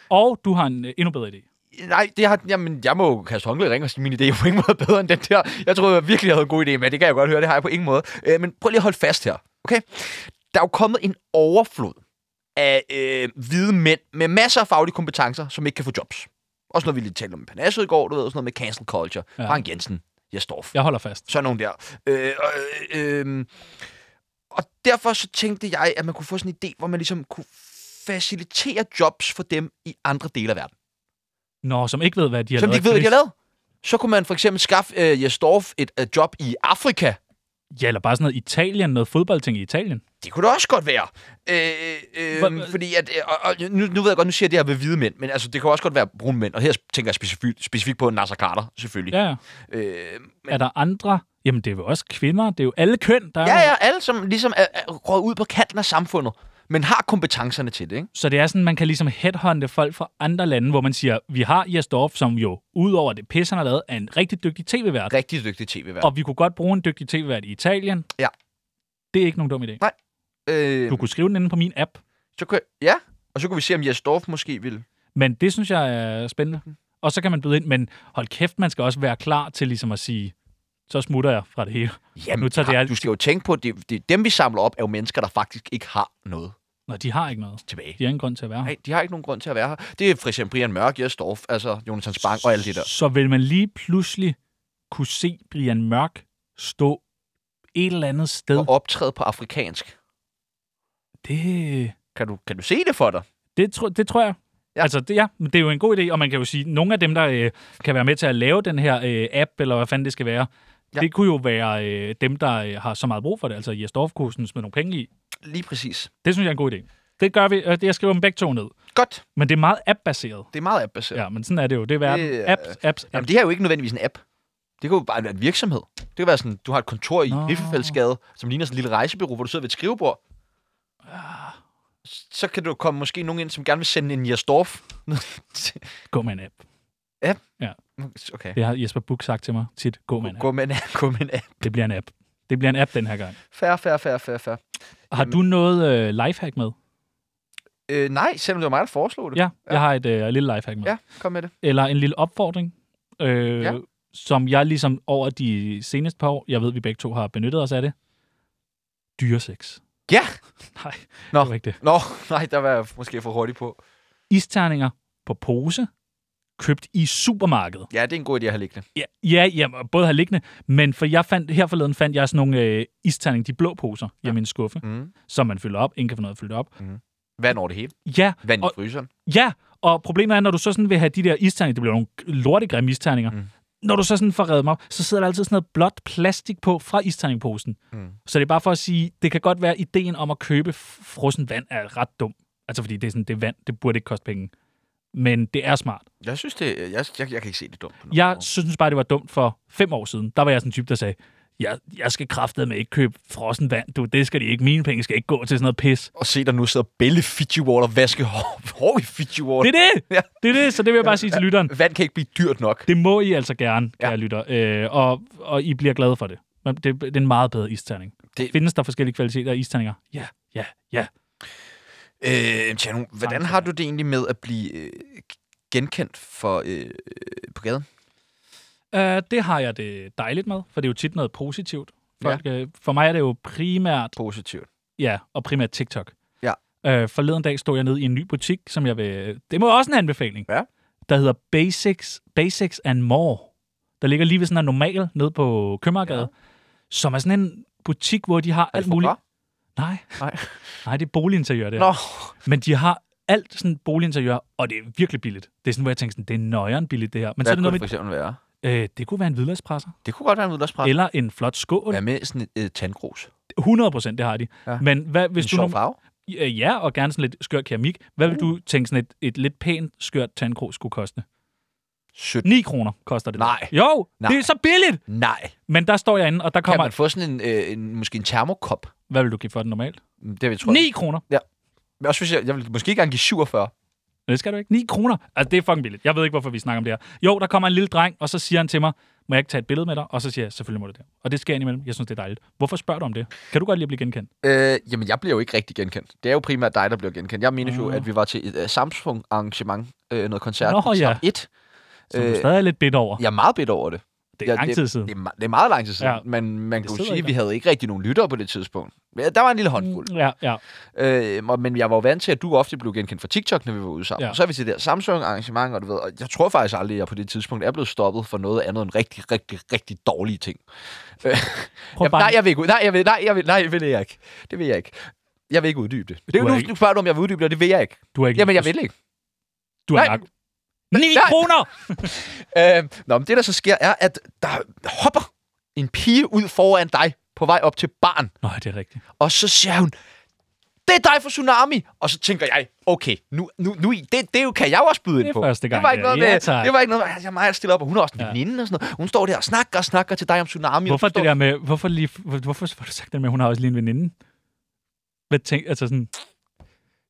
Speaker 2: Og du har en øh, endnu bedre idé.
Speaker 1: Nej, det har, jamen, jeg må jo kaste håndklæde i ringen og sige, min idé er på ingen måde bedre end den der. Jeg troede jeg virkelig, jeg havde en god idé, men det kan jeg godt høre, det har jeg på ingen måde. Øh, men prøv lige at holde fast her, okay? Der er jo kommet en overflod af øh, hvide mænd med masser af faglige kompetencer, som ikke kan få jobs. Også når vi lige talte om Panasso i går, du ved, sådan noget med cancel culture.
Speaker 2: Ja.
Speaker 1: Ja. Frank Jensen, Jesdorf, ja.
Speaker 2: Jeg holder fast.
Speaker 1: sådan nogen der. Øh, og, øh, øh, og derfor så tænkte jeg, at man kunne få sådan en idé, hvor man ligesom kunne facilitere jobs for dem i andre dele af verden
Speaker 2: Nå, som ikke ved, hvad de har
Speaker 1: som de
Speaker 2: lavet.
Speaker 1: ikke ved, hvad de har
Speaker 2: fordi-
Speaker 1: lavet. Så kunne man for eksempel skaffe øh, Jesdorf et øh, job i Afrika.
Speaker 2: Ja, eller bare sådan noget Italien, noget fodboldting i Italien.
Speaker 1: Det kunne det også godt være. Øh,
Speaker 2: Hva-
Speaker 1: øh,
Speaker 2: hva-
Speaker 1: fordi at, øh, og, og, nu, nu ved jeg godt, nu siger jeg det her med hvide mænd, men altså, det kan også godt være brune mænd. Og her tænker jeg specifikt specifik på Nasser Carter, selvfølgelig.
Speaker 2: Ja, ja.
Speaker 1: Ja. Øh,
Speaker 2: Er der andre? Jamen, det er jo også kvinder. Det er jo alle køn, der er
Speaker 1: ja,
Speaker 2: jo-
Speaker 1: ja, alle som ligesom er, er røget ud på kanten af samfundet, men har kompetencerne til det, ikke?
Speaker 2: Så det er sådan, man kan ligesom headhunte folk fra andre lande, hvor man siger, vi har Jesdorf, som jo, udover det pisse, han har lavet, er en rigtig dygtig tv-vært.
Speaker 1: Rigtig dygtig tv-vært.
Speaker 2: Og vi kunne godt bruge en dygtig tv-vært i Italien.
Speaker 1: Ja.
Speaker 2: Det er ikke nogen dum idé.
Speaker 1: Øh,
Speaker 2: Du kunne skrive den inde på min app,
Speaker 1: så kunne, ja, og så kunne vi se, om Jesdorf måske ville...
Speaker 2: men det synes jeg er spændende.
Speaker 1: Mhm.
Speaker 2: Og så kan man byde ind, men hold kæft, man skal også være klar til ligesom at sige, så smutter jeg fra det hele.
Speaker 1: Jamen,
Speaker 2: Nu tager det alt-
Speaker 1: du skal jo tænke på, at det, det, dem vi samler op, er jo mennesker, der faktisk ikke har noget
Speaker 2: Nå, de har ikke noget.
Speaker 1: tilbage.
Speaker 2: De har ingen grund til at være her.
Speaker 1: Nej, de har ikke nogen grund til at være her. Det er for eksempel Brian Mørk, Jes Dorf, altså Jonas Hans Bang og alt det der.
Speaker 2: Så vil man lige pludselig kunne se Brian Mørk stå et eller andet sted.
Speaker 1: Og optræde på afrikansk.
Speaker 2: Det,
Speaker 1: Kan du, kan du se det for dig?
Speaker 2: det, tro, det tror jeg. Ja.
Speaker 1: Ja.
Speaker 2: Altså, det, ja, men det er jo en god idé, og man kan jo sige, at nogle af dem, der øh, kan være med til at lave den her øh, app, eller hvad fanden det skal være, ja.
Speaker 1: Ja.
Speaker 2: det kunne jo være øh, dem, der øh, har så meget brug for det. Altså, Jes Dorf kunne sådan smide nogle penge i.
Speaker 1: Lige præcis.
Speaker 2: Det synes jeg er en god idé. Det gør vi. Øh, det- Jeg skriver dem begge to ned.
Speaker 1: Godt.
Speaker 2: Men det er meget app-baseret.
Speaker 1: Det er meget app-baseret. Ja.
Speaker 2: Ja, men sådan er det jo. Det er verden.
Speaker 1: Det er-
Speaker 2: apps, apps, apps.
Speaker 1: Jamen, det her er jo ikke nødvendigvis en app. Det kan jo bare være en virksomhed. Det kan være sådan, du har et kontor i
Speaker 2: Nå.
Speaker 1: Riffefældsgade, som ligner sådan en lille rejsebureau, hvor du sidder ved et skrivebord.
Speaker 2: Ah.
Speaker 1: Så kan du komme måske nogen ind, som gerne vil sende en Jes Dorf.
Speaker 2: Gå med en app.
Speaker 1: okay.
Speaker 2: Det har Jesper Buch sagt til mig tit. Gå med en app.
Speaker 1: Gå med en app. Gå med en app.
Speaker 2: Det bliver en app. Det bliver en app den her gang.
Speaker 1: Færre, færre, færre, færre, færre.
Speaker 2: Har
Speaker 1: Jamen.
Speaker 2: du noget øh, lifehack med?
Speaker 1: Øh, nej, selvom det var mig, der foreslog det.
Speaker 2: Ja, jeg har et øh, lille lifehack med.
Speaker 1: ja kom med det.
Speaker 2: Eller en lille opfordring. Øh,
Speaker 1: Ja.
Speaker 2: som jeg ligesom over de seneste par år, jeg ved, vi begge to har benyttet os af det, dyresex.
Speaker 1: Ja.
Speaker 2: Nej,
Speaker 1: Nå.
Speaker 2: det var ikke det.
Speaker 1: Nå, nej, der var jeg måske for hurtig på.
Speaker 2: Isterninger på pose, købt i supermarkedet.
Speaker 1: Ja, det er en god idé at have liggende.
Speaker 2: Ja, ja, ja både har liggende, men for jeg fandt, her forleden fandt jeg sådan nogle øh, isterninger, de blå poser, ja. i min skuffe,
Speaker 1: Mm.
Speaker 2: som man fylder op. Ingen kan få noget at fylde op.
Speaker 1: Vand over det hele.
Speaker 2: Ja,
Speaker 1: Vand i
Speaker 2: Og-
Speaker 1: fryseren.
Speaker 2: Ja, og problemet er, når du så sådan vil have de der isterninger, det bliver nogle lortegrimme isterninger,
Speaker 1: Mm.
Speaker 2: mm. når du så sådan får reddet dem op, så sidder der altid sådan noget blåt plastik på fra isterningposen.
Speaker 1: Mm.
Speaker 2: Mm. Så det er bare for at sige, det kan godt være, at ideen om at købe f- frossen vand er ret dum. Altså fordi det er sådan, det er vand, det burde ikke koste penge. Men det er smart.
Speaker 1: Jeg synes det, jeg, jeg, jeg kan ikke se det dumt. På nogen
Speaker 2: Jeg
Speaker 1: måde.
Speaker 2: synes bare, det var dumt for fem år siden. Der var jeg sådan en type, der sagde, jeg, jeg skal kraftedeme med ikke købe frossen vand. Du, det skal de ikke. Mine penge skal ikke gå til sådan noget pis.
Speaker 1: Og se dig nu sidde og bælge Fiji Water, vaske hår, hår i Fiji Water.
Speaker 2: Det er det!
Speaker 1: Ja.
Speaker 2: Det er det, så det vil jeg bare sige til lytteren.
Speaker 1: Vand kan ikke blive dyrt nok.
Speaker 2: Det må I altså gerne,
Speaker 1: Ja.
Speaker 2: ja. jeg lytter. Øh, og, og I bliver glade for det. Men det. Det er en meget bedre isterning.
Speaker 1: Det-
Speaker 2: Det... Findes der forskellige kvaliteter af isterninger? Ja, ja, ja.
Speaker 1: Øh, Tjano, hvordan
Speaker 2: Samtidig.
Speaker 1: har du det egentlig med at blive øh, genkendt for øh, øh, på gaden?
Speaker 2: Øh, det har jeg det dejligt med, for det er jo tit noget positivt. Folk, ja. øh, for mig er det jo primært,
Speaker 1: Positivt.
Speaker 2: ja, og primært TikTok.
Speaker 1: Ja.
Speaker 2: Øh, forleden dag stod jeg nede i en ny butik, som jeg vil... Det må også en anbefaling.
Speaker 1: Ja.
Speaker 2: Der hedder Basics, Basics and More. Der ligger lige ved sådan en normal nede på Købmagergade,
Speaker 1: Ja.
Speaker 2: ja. som er sådan en butik, hvor de har
Speaker 1: Er det
Speaker 2: alt
Speaker 1: for
Speaker 2: muligt.
Speaker 1: bra?
Speaker 2: Nej.
Speaker 1: Nej.
Speaker 2: Nej, det er boliginteriør, det her.
Speaker 1: Nå,
Speaker 2: Men de har alt sådan boliginteriør, og det er virkelig billigt. Det er sådan, hvor jeg tænker sådan, det er nøjeren billigt, det her. Men
Speaker 1: hvad
Speaker 2: så er det
Speaker 1: kunne det
Speaker 2: noget
Speaker 1: for
Speaker 2: med,
Speaker 1: eksempel være?
Speaker 2: øh, det kunne være en hvidløgspresser,
Speaker 1: Det kunne godt være en udlagspresse.
Speaker 2: eller en flot skål.
Speaker 1: Hvad med sådan et øh, tandgrus?
Speaker 2: 100 procent, det har de.
Speaker 1: Ja.
Speaker 2: Ja. Men hvad, hvis
Speaker 1: en
Speaker 2: du...
Speaker 1: sjov
Speaker 2: nu-
Speaker 1: farve?
Speaker 2: Øh, Ja, og gerne sådan lidt skør keramik. Hvad vil
Speaker 1: Uh.
Speaker 2: du tænke sådan et, et lidt pænt, skørt tandkrog skulle koste?
Speaker 1: Sødt.
Speaker 2: 9 kroner koster det.
Speaker 1: Nej.
Speaker 2: Jo,
Speaker 1: Nej.
Speaker 2: det er så billigt!
Speaker 1: Nej.
Speaker 2: Men der står jeg inde, og der
Speaker 1: Kan
Speaker 2: kommer...
Speaker 1: man få sådan en, øh, en måske en termokop?
Speaker 2: Hvad vil du give for den normalt?
Speaker 1: Det vil jeg tro.
Speaker 2: 9 kroner.
Speaker 1: Men også hvis jeg, jeg vil måske ikke engang give 47.
Speaker 2: Men det skal du ikke. 9 kroner. Altså, det er fucking billigt. Jeg ved ikke, hvorfor vi snakker om det her. Jo, der kommer en lille dreng, og så siger han til mig, må jeg ikke tage et billede med dig? Og så siger jeg, selvfølgelig må du det. Og det sker indimellem. Jeg synes, det er dejligt. Hvorfor spørger du om det? Kan du godt lige blive genkendt?
Speaker 1: Øh, jamen, jeg bliver jo ikke rigtig genkendt. Det er jo primært dig, der bliver genkendt. Jeg mener jo,
Speaker 2: Nå.
Speaker 1: at vi var til et uh, Samsung-arrangement, øh, noget koncert,
Speaker 2: Mm. Nå, ja.
Speaker 1: 1.
Speaker 2: Som øh,
Speaker 1: Øh,
Speaker 2: du stadig er lidt bitter over.
Speaker 1: Jeg er meget bedt over det.
Speaker 2: Det er
Speaker 1: ja,
Speaker 2: lang tid siden.
Speaker 1: Det er, me- det er meget lang tid siden, ja.
Speaker 2: Ja.
Speaker 1: men man kan jo
Speaker 2: sidder
Speaker 1: sige,
Speaker 2: i
Speaker 1: at
Speaker 2: dig.
Speaker 1: vi havde ikke rigtig nogen lyttere på det tidspunkt. Ja, Der var en lille håndfuld.
Speaker 2: Mm, Ja, ja.
Speaker 1: Øh, og- men jeg var jo vant til, at du ofte blev genkendt fra TikTok, når vi var ude sammen. Ja.
Speaker 2: Ja.
Speaker 1: Og så er vi til det der Samsung-arrangement, og du ved, og jeg tror faktisk aldrig, at jeg på det tidspunkt er blevet stoppet for noget andet end rigtig, rigtig, rigtig dårlige ting. Øh,
Speaker 2: Prøv
Speaker 1: jamen,
Speaker 2: bare-
Speaker 1: nej, jeg vil ikke ud. Nej, jeg vil, nej, jeg vil, nej, det vil jeg ikke. Det vil jeg ikke. Jeg vil ikke uddybe det. Det er jo
Speaker 2: Du er
Speaker 1: nu,
Speaker 2: ikke-
Speaker 1: du spørger du, om jeg vil uddybe det, og det vil jeg ikke.
Speaker 2: Du er ikke...
Speaker 1: Jamen, jeg vil ikke.
Speaker 2: Du er
Speaker 1: Nej.
Speaker 2: nok. 9
Speaker 1: Nej.
Speaker 2: kroner!
Speaker 1: Øh, nå, men det, der så sker, er, at der hopper en pige ud foran dig på vej op til barn.
Speaker 2: Nå, det er rigtigt.
Speaker 1: Og så siger hun, det er dig fra Tsunami. Og så tænker jeg, okay, nu, nu, nu det, det jo- kan jeg jo også byde
Speaker 2: Det
Speaker 1: ind
Speaker 2: er
Speaker 1: på.
Speaker 2: første gang,
Speaker 1: det var ikke
Speaker 2: det er.
Speaker 1: noget med,
Speaker 2: Ja, tak.
Speaker 1: det var ikke noget med, altså, mig jeg stiller op, og hun er også en
Speaker 2: Ja.
Speaker 1: veninde og sådan noget. Hun står der og snakker og snakker til dig om Tsunami.
Speaker 2: Hvorfor
Speaker 1: og du
Speaker 2: det der med... Hvorfor, lige, hvor- hvorfor har du sagt det med, at hun har også lige en veninde? Hvad tænk, altså sådan,
Speaker 1: står-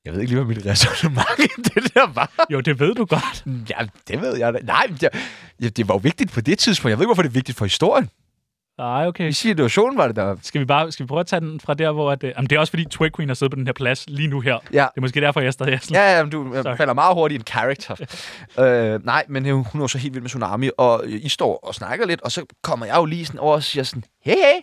Speaker 1: Jeg ved ikke lige, hvad mit resonemang i det der var.
Speaker 2: jo, det ved du godt.
Speaker 1: Ja, det ved jeg da. Nej, men jeg, ja, det var jo vigtigt på det tidspunkt. Jeg ved ikke, hvorfor det er vigtigt for historien.
Speaker 2: Nej, okay.
Speaker 1: I situationen var det der.
Speaker 2: Skal vi, bare, skal vi prøve at tage den fra der, hvor... At, øh, jamen, det er også fordi Twig Queen har siddet på den her plads lige nu her.
Speaker 1: Ja.
Speaker 2: Det er måske derfor, jeg stadig er sådan...
Speaker 1: Ja, ja, men du øh,
Speaker 2: Sorry.
Speaker 1: falder meget hurtigt i en character. øh, nej, men øh, hun er jo så helt vild med Tsunami, og øh, I står og snakker lidt, og så kommer jeg jo lige sådan over og siger sådan, hey, hey,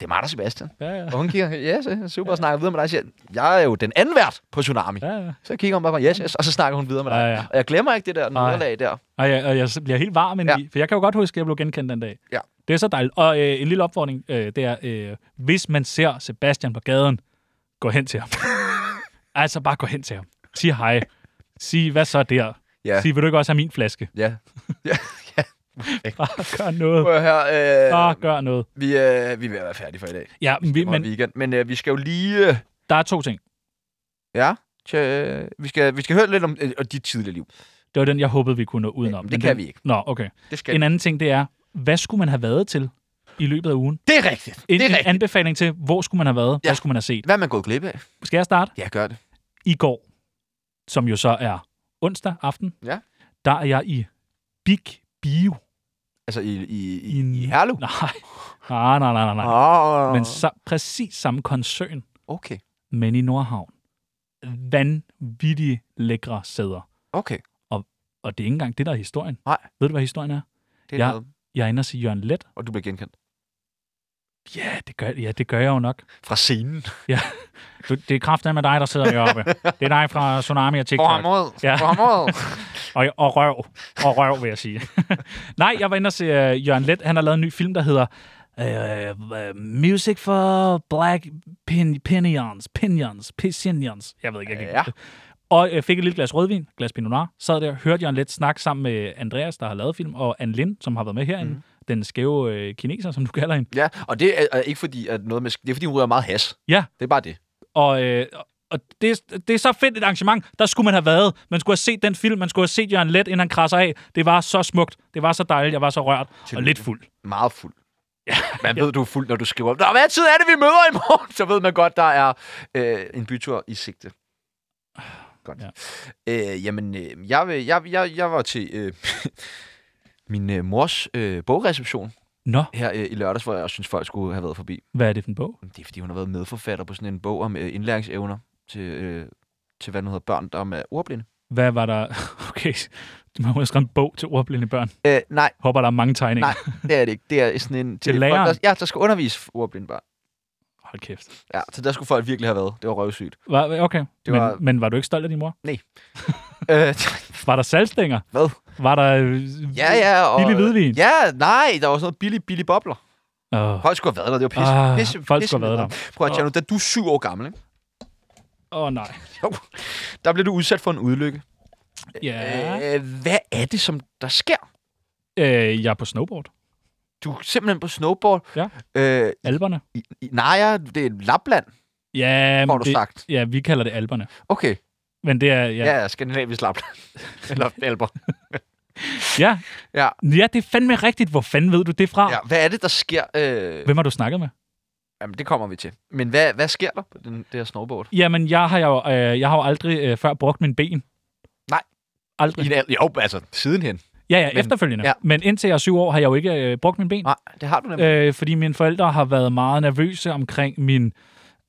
Speaker 1: det er mig, der er Sebastian.
Speaker 2: Ja, ja.
Speaker 1: Og hun kigger, yes, yes, super, og snakker videre med dig, og siger, jeg er jo den anden vært på Tsunami.
Speaker 2: Ja, ja.
Speaker 1: Så kigger hun bare på, yes, yes, og så snakker hun videre med dig.
Speaker 2: Ja, ja.
Speaker 1: Og jeg glemmer ikke det der
Speaker 2: Nej.
Speaker 1: nederlag der.
Speaker 2: Og jeg, og jeg bliver helt varm indeni, ja. for jeg kan jo godt huske, at jeg blev genkendt den dag.
Speaker 1: Ja.
Speaker 2: Det er så dejligt. Og øh, en lille opfordring, øh, det er, øh, hvis man ser Sebastian på gaden, gå hen til ham. altså bare gå hen til ham. Sig hej. Sig, hvad så der?
Speaker 1: Ja.
Speaker 2: Sig, vil du ikke også have min flaske?
Speaker 1: Ja. ja, ja.
Speaker 2: Bare gør noget.
Speaker 1: Prøv at høre,
Speaker 2: Bare
Speaker 1: øh,
Speaker 2: gør noget.
Speaker 1: vi, øh, vi er ved at være færdige for i dag.
Speaker 2: Ja, men, vi,
Speaker 1: Men,
Speaker 2: men
Speaker 1: weekend. men øh, vi skal jo lige... Øh,
Speaker 2: der er to ting.
Speaker 1: ja, tja, øh, vi, skal, vi skal høre lidt om øh, om dit tidligere liv.
Speaker 2: Det var den, jeg håbede, vi kunne nå udenom.
Speaker 1: det
Speaker 2: men
Speaker 1: kan
Speaker 2: den-
Speaker 1: vi ikke.
Speaker 2: Nå, okay.
Speaker 1: Det skal
Speaker 2: En anden ting, det er, hvad skulle man have været til i løbet af ugen?
Speaker 1: Det er rigtigt.
Speaker 2: En,
Speaker 1: det er
Speaker 2: en
Speaker 1: rigtigt.
Speaker 2: anbefaling til, hvor skulle man have været?
Speaker 1: Ja.
Speaker 2: Hvad skulle man have set?
Speaker 1: Hvad er man gået glip af?
Speaker 2: Skal jeg starte?
Speaker 1: Ja, gør det.
Speaker 2: i går, som jo så er onsdag aften,
Speaker 1: Ja.
Speaker 2: der er jeg i Big Bio.
Speaker 1: Altså i, i, i,
Speaker 2: En-
Speaker 1: i Herlev?
Speaker 2: Nej, nej, nej, nej, nej. nej.
Speaker 1: Oh.
Speaker 2: Men så, præcis samme koncern,
Speaker 1: Okay,
Speaker 2: men i Nordhavn. Vanvittige lækre sæder.
Speaker 1: okay.
Speaker 2: Og det er ikke engang det, der er historien.
Speaker 1: Nej.
Speaker 2: Ved du, hvad historien er?
Speaker 1: Det er
Speaker 2: Ja.
Speaker 1: noget.
Speaker 2: Jeg er inde og sige Jørgen Let.
Speaker 1: Og du bliver genkendt.
Speaker 2: Ja, det gør, ja, det gør jeg jo nok.
Speaker 1: Fra scenen.
Speaker 2: Du, det er kraften med dig, der sidder heroppe. Det er dig fra Tsunami og TikTok.
Speaker 1: mod.
Speaker 2: Ja.
Speaker 1: For ham ud.
Speaker 2: Og, og røv. Og røv, vil jeg sige. Nej, jeg var inde og se uh, Jørgen Let. Han har lavet en ny film, der hedder uh, Music for Black Pin- Pinions. Pinions. Pinions. Jeg ved ikke, jeg kan ikke
Speaker 1: Ja.
Speaker 2: huske det. Og jeg fik et lille glas rødvin, glas Pinot Noir. Sad der, hørte Jørgen Let snakke sammen med Andreas, der har lavet film, og Anne Lind, som har været med herinde. Mm. Den skæve øh, kineser, som du kalder hende.
Speaker 1: ja, og det er, er ikke fordi, at noget med... sk- Det er fordi, hun ryger meget has.
Speaker 2: Ja.
Speaker 1: Det er bare det.
Speaker 2: Og, øh, og det, det er så fedt et arrangement. Der skulle man have været. Man skulle have set den film. Man skulle have set Jørgen Let, inden han krasser af. Det var så smukt. Det var så dejligt. Jeg var så rørt. og
Speaker 1: Tillykke.
Speaker 2: lidt fuld.
Speaker 1: Meget fuld. Ja, man ved, du er fuld, når du skriver. Nå, hvad tid er det, vi møder i morgen? Så ved man godt, der er øh, en bytur i sigte. Godt.
Speaker 2: Ja.
Speaker 1: Ja. Øh, jamen, øh, jeg, vil- jeg, jeg, jeg var til øh, min øh, mors øh, bogreception
Speaker 2: Nå,
Speaker 1: her øh, i lørdags, hvor jeg synes, folk skulle have været forbi.
Speaker 2: hvad er det for en bog?
Speaker 1: Det er, fordi hun har været medforfatter på sådan en bog om øh, indlæringsevner til, øh, til, hvad nu hedder, børn, der er ordblinde.
Speaker 2: Hvad var der... Okay, du må have skrevet en bog til ordblinde børn.
Speaker 1: Øh, nej,
Speaker 2: Håber, der er mange tegninger.
Speaker 1: Nej. det er det ikke. Det er sådan en...
Speaker 2: Til
Speaker 1: det er folk,
Speaker 2: læreren?
Speaker 1: der, ja, der skal undervise ordblinde børn.
Speaker 2: Hold kæft.
Speaker 1: Ja, så der skulle folk virkelig have været. Det var røvsygt.
Speaker 2: Var, okay,
Speaker 1: Det
Speaker 2: det var...
Speaker 1: var-
Speaker 2: Men, men var du ikke stolt af din mor?
Speaker 1: øh,
Speaker 2: Var der salgstænger?
Speaker 1: Hvad?
Speaker 2: Var der... øh,
Speaker 1: ja, ja. Og,
Speaker 2: Billig hvidvin?
Speaker 1: Ja, nej, der var sådan noget billig, billig bobler.
Speaker 2: Åh,
Speaker 1: Folk skulle have været der, det var pisse.
Speaker 2: Ah,
Speaker 1: pisse
Speaker 2: folk
Speaker 1: pisse
Speaker 2: skulle have været
Speaker 1: nederen. Prøv at tjene, da du er syv år gammel, ikke?
Speaker 2: oh, nej.
Speaker 1: der blev du udsat for en ulykke.
Speaker 2: Ja.
Speaker 1: Øh, hvad er det, som der sker?
Speaker 2: Øh, jeg er på snowboard.
Speaker 1: Du er simpelthen på snowboard.
Speaker 2: Ja.
Speaker 1: Øh,
Speaker 2: Alberne.
Speaker 1: i, i, Naja, det er Lapland,
Speaker 2: Ja,
Speaker 1: får
Speaker 2: men
Speaker 1: du
Speaker 2: det,
Speaker 1: sagt.
Speaker 2: ja, vi kalder det alberne.
Speaker 1: Okay,
Speaker 2: Men det er... Ja,
Speaker 1: ja, ja skandinavisk Lapland. Eller Alber.
Speaker 2: Ja.
Speaker 1: Ja.
Speaker 2: ja, det er fandme rigtigt. Hvor fanden ved du det fra? Ja.
Speaker 1: Ja, hvad er det, der sker? Øh,
Speaker 2: Ah. Hvem har du snakket med?
Speaker 1: jamen, det kommer vi til. Men hvad, hvad sker der på den, det her snowboard?
Speaker 2: Jamen, jeg har jo, øh, jeg har jo aldrig øh, før brugt min ben.
Speaker 1: Nej.
Speaker 2: Aldrig.
Speaker 1: I, en al- jo, altså, sidenhen.
Speaker 2: Ja, ja,
Speaker 1: Men-
Speaker 2: men, efterfølgende.
Speaker 1: ja.
Speaker 2: Ja. Men indtil jeg er syv år, har jeg jo ikke øh, brugt min ben.
Speaker 1: Nej, det har du nemlig.
Speaker 2: Øh, fordi mine forældre har været meget nervøse omkring min...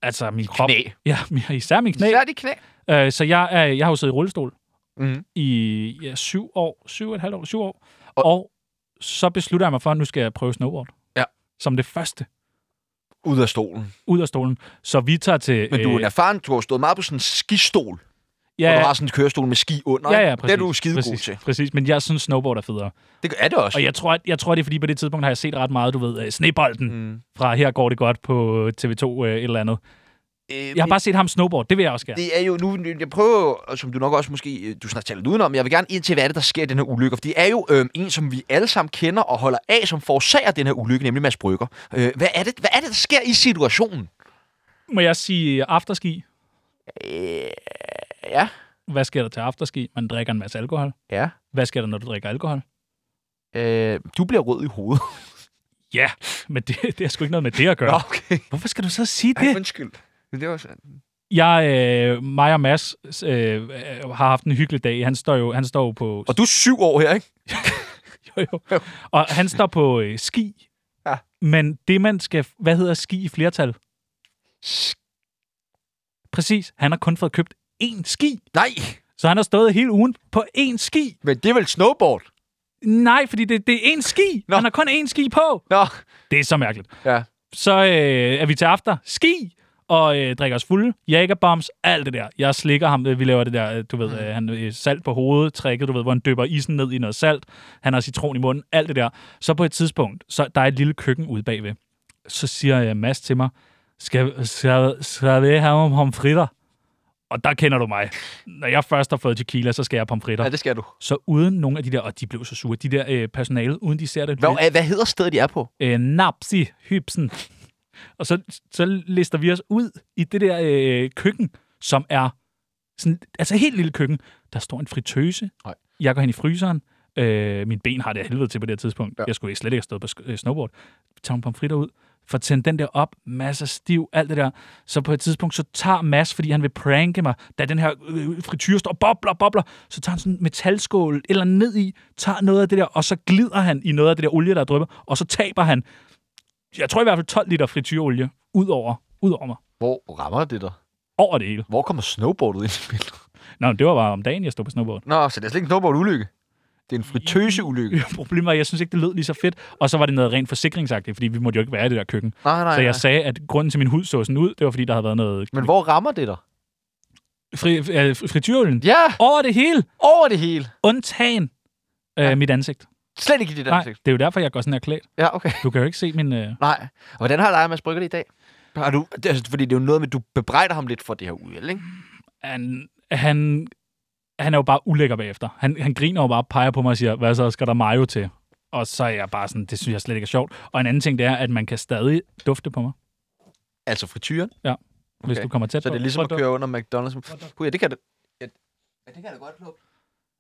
Speaker 2: Altså, min krop.
Speaker 1: Knæ.
Speaker 2: Ja, min- især min knæ.
Speaker 1: Især de knæ.
Speaker 2: Øh, så jeg, er, jeg har jo siddet i rullestol
Speaker 1: Mm.
Speaker 2: i ja, syv år, syv og et halvt år, syv år.
Speaker 1: Og-
Speaker 2: Og, og så beslutter jeg mig for, at nu skal jeg prøve snowboard.
Speaker 1: Ja.
Speaker 2: Som det første
Speaker 1: Ud af stolen.
Speaker 2: ud af stolen. Så vi tager til...
Speaker 1: Men du er
Speaker 2: øh,
Speaker 1: en erfaren, du har stået meget på sådan en skistol, ja. hvor
Speaker 2: ja,
Speaker 1: du har sådan en kørestol med ski under.
Speaker 2: ja,
Speaker 1: ikke?
Speaker 2: ja, præcis.
Speaker 1: Det er du skide god
Speaker 2: præcis,
Speaker 1: til.
Speaker 2: Præcis, men jeg synes, snowboard er federe.
Speaker 1: Det er det også.
Speaker 2: Og jeg tror, at, jeg tror, det er fordi, på det tidspunkt har jeg set ret meget, du ved, øh, snebolden mm.
Speaker 1: Mm.
Speaker 2: fra Her går det godt på øh, TV2 øh, et eller andet.
Speaker 1: Øh,
Speaker 2: Jeg har bare set ham snowboard, det vil jeg også gerne.
Speaker 1: Det er jo nu, jeg prøver, og som du nok også måske, øh, du snart taler lidt udenom, jeg vil gerne ind til, hvad er det, der sker i den her ulykke. For det er jo øh, en, som vi alle sammen kender og holder af, som forårsager den her ulykke, nemlig Mads Brygger. Øh, hvad, er det, hvad er det, der sker i situationen?
Speaker 2: Må jeg sige øh, afterski?
Speaker 1: Øh, ja.
Speaker 2: Hvad sker der til afterski? Man drikker en masse alkohol.
Speaker 1: Ja.
Speaker 2: Hvad sker der, når du drikker alkohol?
Speaker 1: Øh, du bliver rød i hovedet.
Speaker 2: Ja, men det, det har sgu ikke noget med det at gøre.
Speaker 1: Nå, okay.
Speaker 2: Hvorfor skal du så sige
Speaker 1: Ej,
Speaker 2: det?
Speaker 1: undskyld. Men Det var sandt.
Speaker 2: Jeg, øh, mig og Mads øh, øh, har haft en hyggelig dag. Han står jo, han står jo på
Speaker 1: Og du er syv år her, ikke?
Speaker 2: Jo, jo. Og han står på øh, ski.
Speaker 1: Ja.
Speaker 2: Men det, man skal... Hvad hedder ski i flertal? Præcis. Han har kun fået købt én ski.
Speaker 1: Nej,
Speaker 2: Så han har stået hele ugen på én ski.
Speaker 1: men det er vel snowboard?
Speaker 2: Nej, fordi det, det er én ski.
Speaker 1: Nå.
Speaker 2: Nå. Han har kun én ski på.
Speaker 1: Nå,
Speaker 2: Det er så mærkeligt.
Speaker 1: ja.
Speaker 2: Så øh, er vi til after. Ski! Og øh, drikker os fulde. Jagerbombs. Alt det der. Jeg slikker ham. øh, Vi laver det der, øh, du
Speaker 1: Mm.
Speaker 2: ved, øh, han øh, salt på hovedet. Trækket, du ved, hvor han dypper isen ned i noget salt. Han har citron i munden. Alt det der. Så på et tidspunkt, så der er et lille køkken ude bagved. Så siger øh, Mads til mig, skal, skal, skal vi have om pomfritter? Og der kender du mig. Når jeg først har fået tequila, så skal jeg have pomfritter.
Speaker 1: Ja, det skal du.
Speaker 2: Så uden nogle af de der, og de blev så sure, de der øh, personale, uden de ser det.
Speaker 1: Hvad, øh, hvad hedder stedet, de er på?
Speaker 2: øh, Napsi Hypsen. Og så, så lister vi os ud i det der øh, køkken, som er sådan, altså helt lille køkken. Der står en fritøse.
Speaker 1: Nej.
Speaker 2: Jeg går hen i fryseren. Øh, min ben har det af helvede til på det her tidspunkt.
Speaker 1: Ja.
Speaker 2: Ja. Jeg skulle slet ikke have stået på sk- øh, snowboard. Tager nogle pomfritter ud. Får tændt den der op. Masser af stiv. Alt det der. Så på et tidspunkt, så tager Mads, fordi han vil pranke mig, da den her øh, frityr står bobler, bobler, så tager han sådan en metalskål eller ned i, tager noget af det der, og så glider han i noget af det der olie, der drypper, og så taber han jeg tror i hvert fald 12 liter frityrolie ud over, ud over mig.
Speaker 1: Hvor rammer det dig?
Speaker 2: Over det hele.
Speaker 1: Hvor kommer snowboardet ind i billedet?
Speaker 2: Nå, men det var bare om dagen, jeg stod på snowboard.
Speaker 1: Nå, så det er slet ikke en snowboard-ulykke. Det er en fritøseulykke.
Speaker 2: Problemet var, at jeg synes ikke, det lød lige så fedt. Og så var det noget rent forsikringsagtigt, fordi vi måtte jo ikke være i det der køkken.
Speaker 3: Nej, nej,
Speaker 2: Så jeg
Speaker 3: nej.
Speaker 2: sagde, at grunden til, at min hud så sådan ud, det var, fordi der havde været noget
Speaker 3: Men hvor rammer det dig?
Speaker 2: fri, øh, frityrolien
Speaker 3: Ja,
Speaker 2: over det hele,
Speaker 3: over det hele.
Speaker 2: undtagen øh,
Speaker 3: Ja.
Speaker 2: mit ansigt.
Speaker 3: Slet ikke i dit
Speaker 2: Nej,
Speaker 3: ansigt.
Speaker 2: det er jo derfor, jeg går sådan her klædt.
Speaker 3: Ja, okay.
Speaker 2: Du kan jo ikke se min... Øh...
Speaker 3: Nej. Og hvordan har dig og Mads Brygger det i dag?
Speaker 1: Har du, det er altså, fordi det er jo noget med, at du bebrejder ham lidt for det her uheld, ikke?
Speaker 2: Han, han, han er jo bare ulækker bagefter. Han, han griner jo bare, peger på mig og siger, hvad så skal der mayo til? Og så er jeg bare sådan, det synes jeg slet ikke er sjovt. Og en anden ting, det er, at man kan stadig dufte på mig,
Speaker 3: Altså frityren.
Speaker 2: hvis
Speaker 3: Okay.
Speaker 2: du kommer tæt
Speaker 3: Så
Speaker 2: på.
Speaker 3: det er ligesom
Speaker 2: Prøv
Speaker 3: at
Speaker 2: dufte.
Speaker 3: køre under McDonald's. Gud, ja, det kan det. Ja, det kan det godt lugte.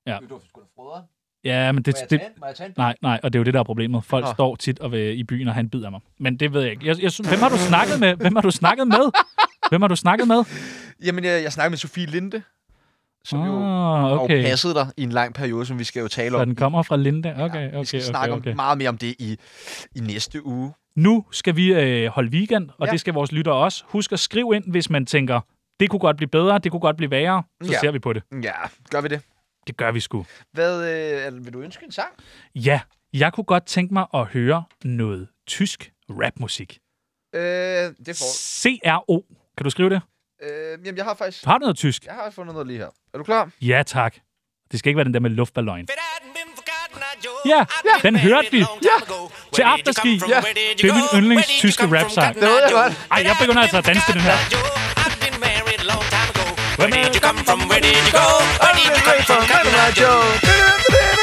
Speaker 2: Ja.
Speaker 3: Du sgu da frøderen.
Speaker 2: Ja, men det, det,
Speaker 3: Må jeg tage en
Speaker 2: Nej, nej, og det er jo det, der er problemet. Folk
Speaker 3: Nå.
Speaker 2: oh. står tit og vil, i byen, og han bider mig. Men det ved jeg ikke. Jeg, jeg, synes- hvem har du snakket med? Hvem har du snakket med? Hvem har du snakket med?
Speaker 1: Jamen, jeg, jeg snakker med Sofie Linde, som jo
Speaker 2: Ah,
Speaker 1: okay. har
Speaker 2: okay.
Speaker 1: passet dig i en lang periode, som vi skal jo tale
Speaker 2: Så
Speaker 1: om.
Speaker 2: den kommer fra Linda. Okay, okay,
Speaker 1: vi skal
Speaker 2: okay,
Speaker 1: snakke
Speaker 2: okay, okay.
Speaker 1: om meget mere om det i, i næste uge.
Speaker 2: Nu skal vi øh, holde weekend, og
Speaker 1: Ja.
Speaker 2: ja. det skal vores lyttere også. Husk at skrive ind, hvis man tænker, det kunne godt blive bedre, det kunne godt blive værre. Så
Speaker 1: Ja.
Speaker 2: ja. ser vi på det.
Speaker 1: Ja, gør vi det.
Speaker 2: Det gør vi sgu.
Speaker 1: Hvad, øh, al- vil du ønske en sang?
Speaker 2: Ja, jeg kunne godt tænke mig at høre noget tysk rapmusik.
Speaker 1: Øh, det får...
Speaker 2: CRO. Kan du skrive det?
Speaker 1: Øh, jamen, jeg har faktisk...
Speaker 2: Har du noget tysk?
Speaker 1: Jeg har fundet noget lige her. Er du klar?
Speaker 2: Ja, tak. Det skal ikke være den der med luftballon.
Speaker 4: Ja, ja, den hørte vi.
Speaker 2: Ja.
Speaker 4: Til afterski. Ja. Det er min yndlings tyske rap-sang.
Speaker 2: Det
Speaker 1: ved jeg godt.
Speaker 4: Ej, jeg begynder altså at danse til den her. er
Speaker 2: Where did you
Speaker 1: Joe.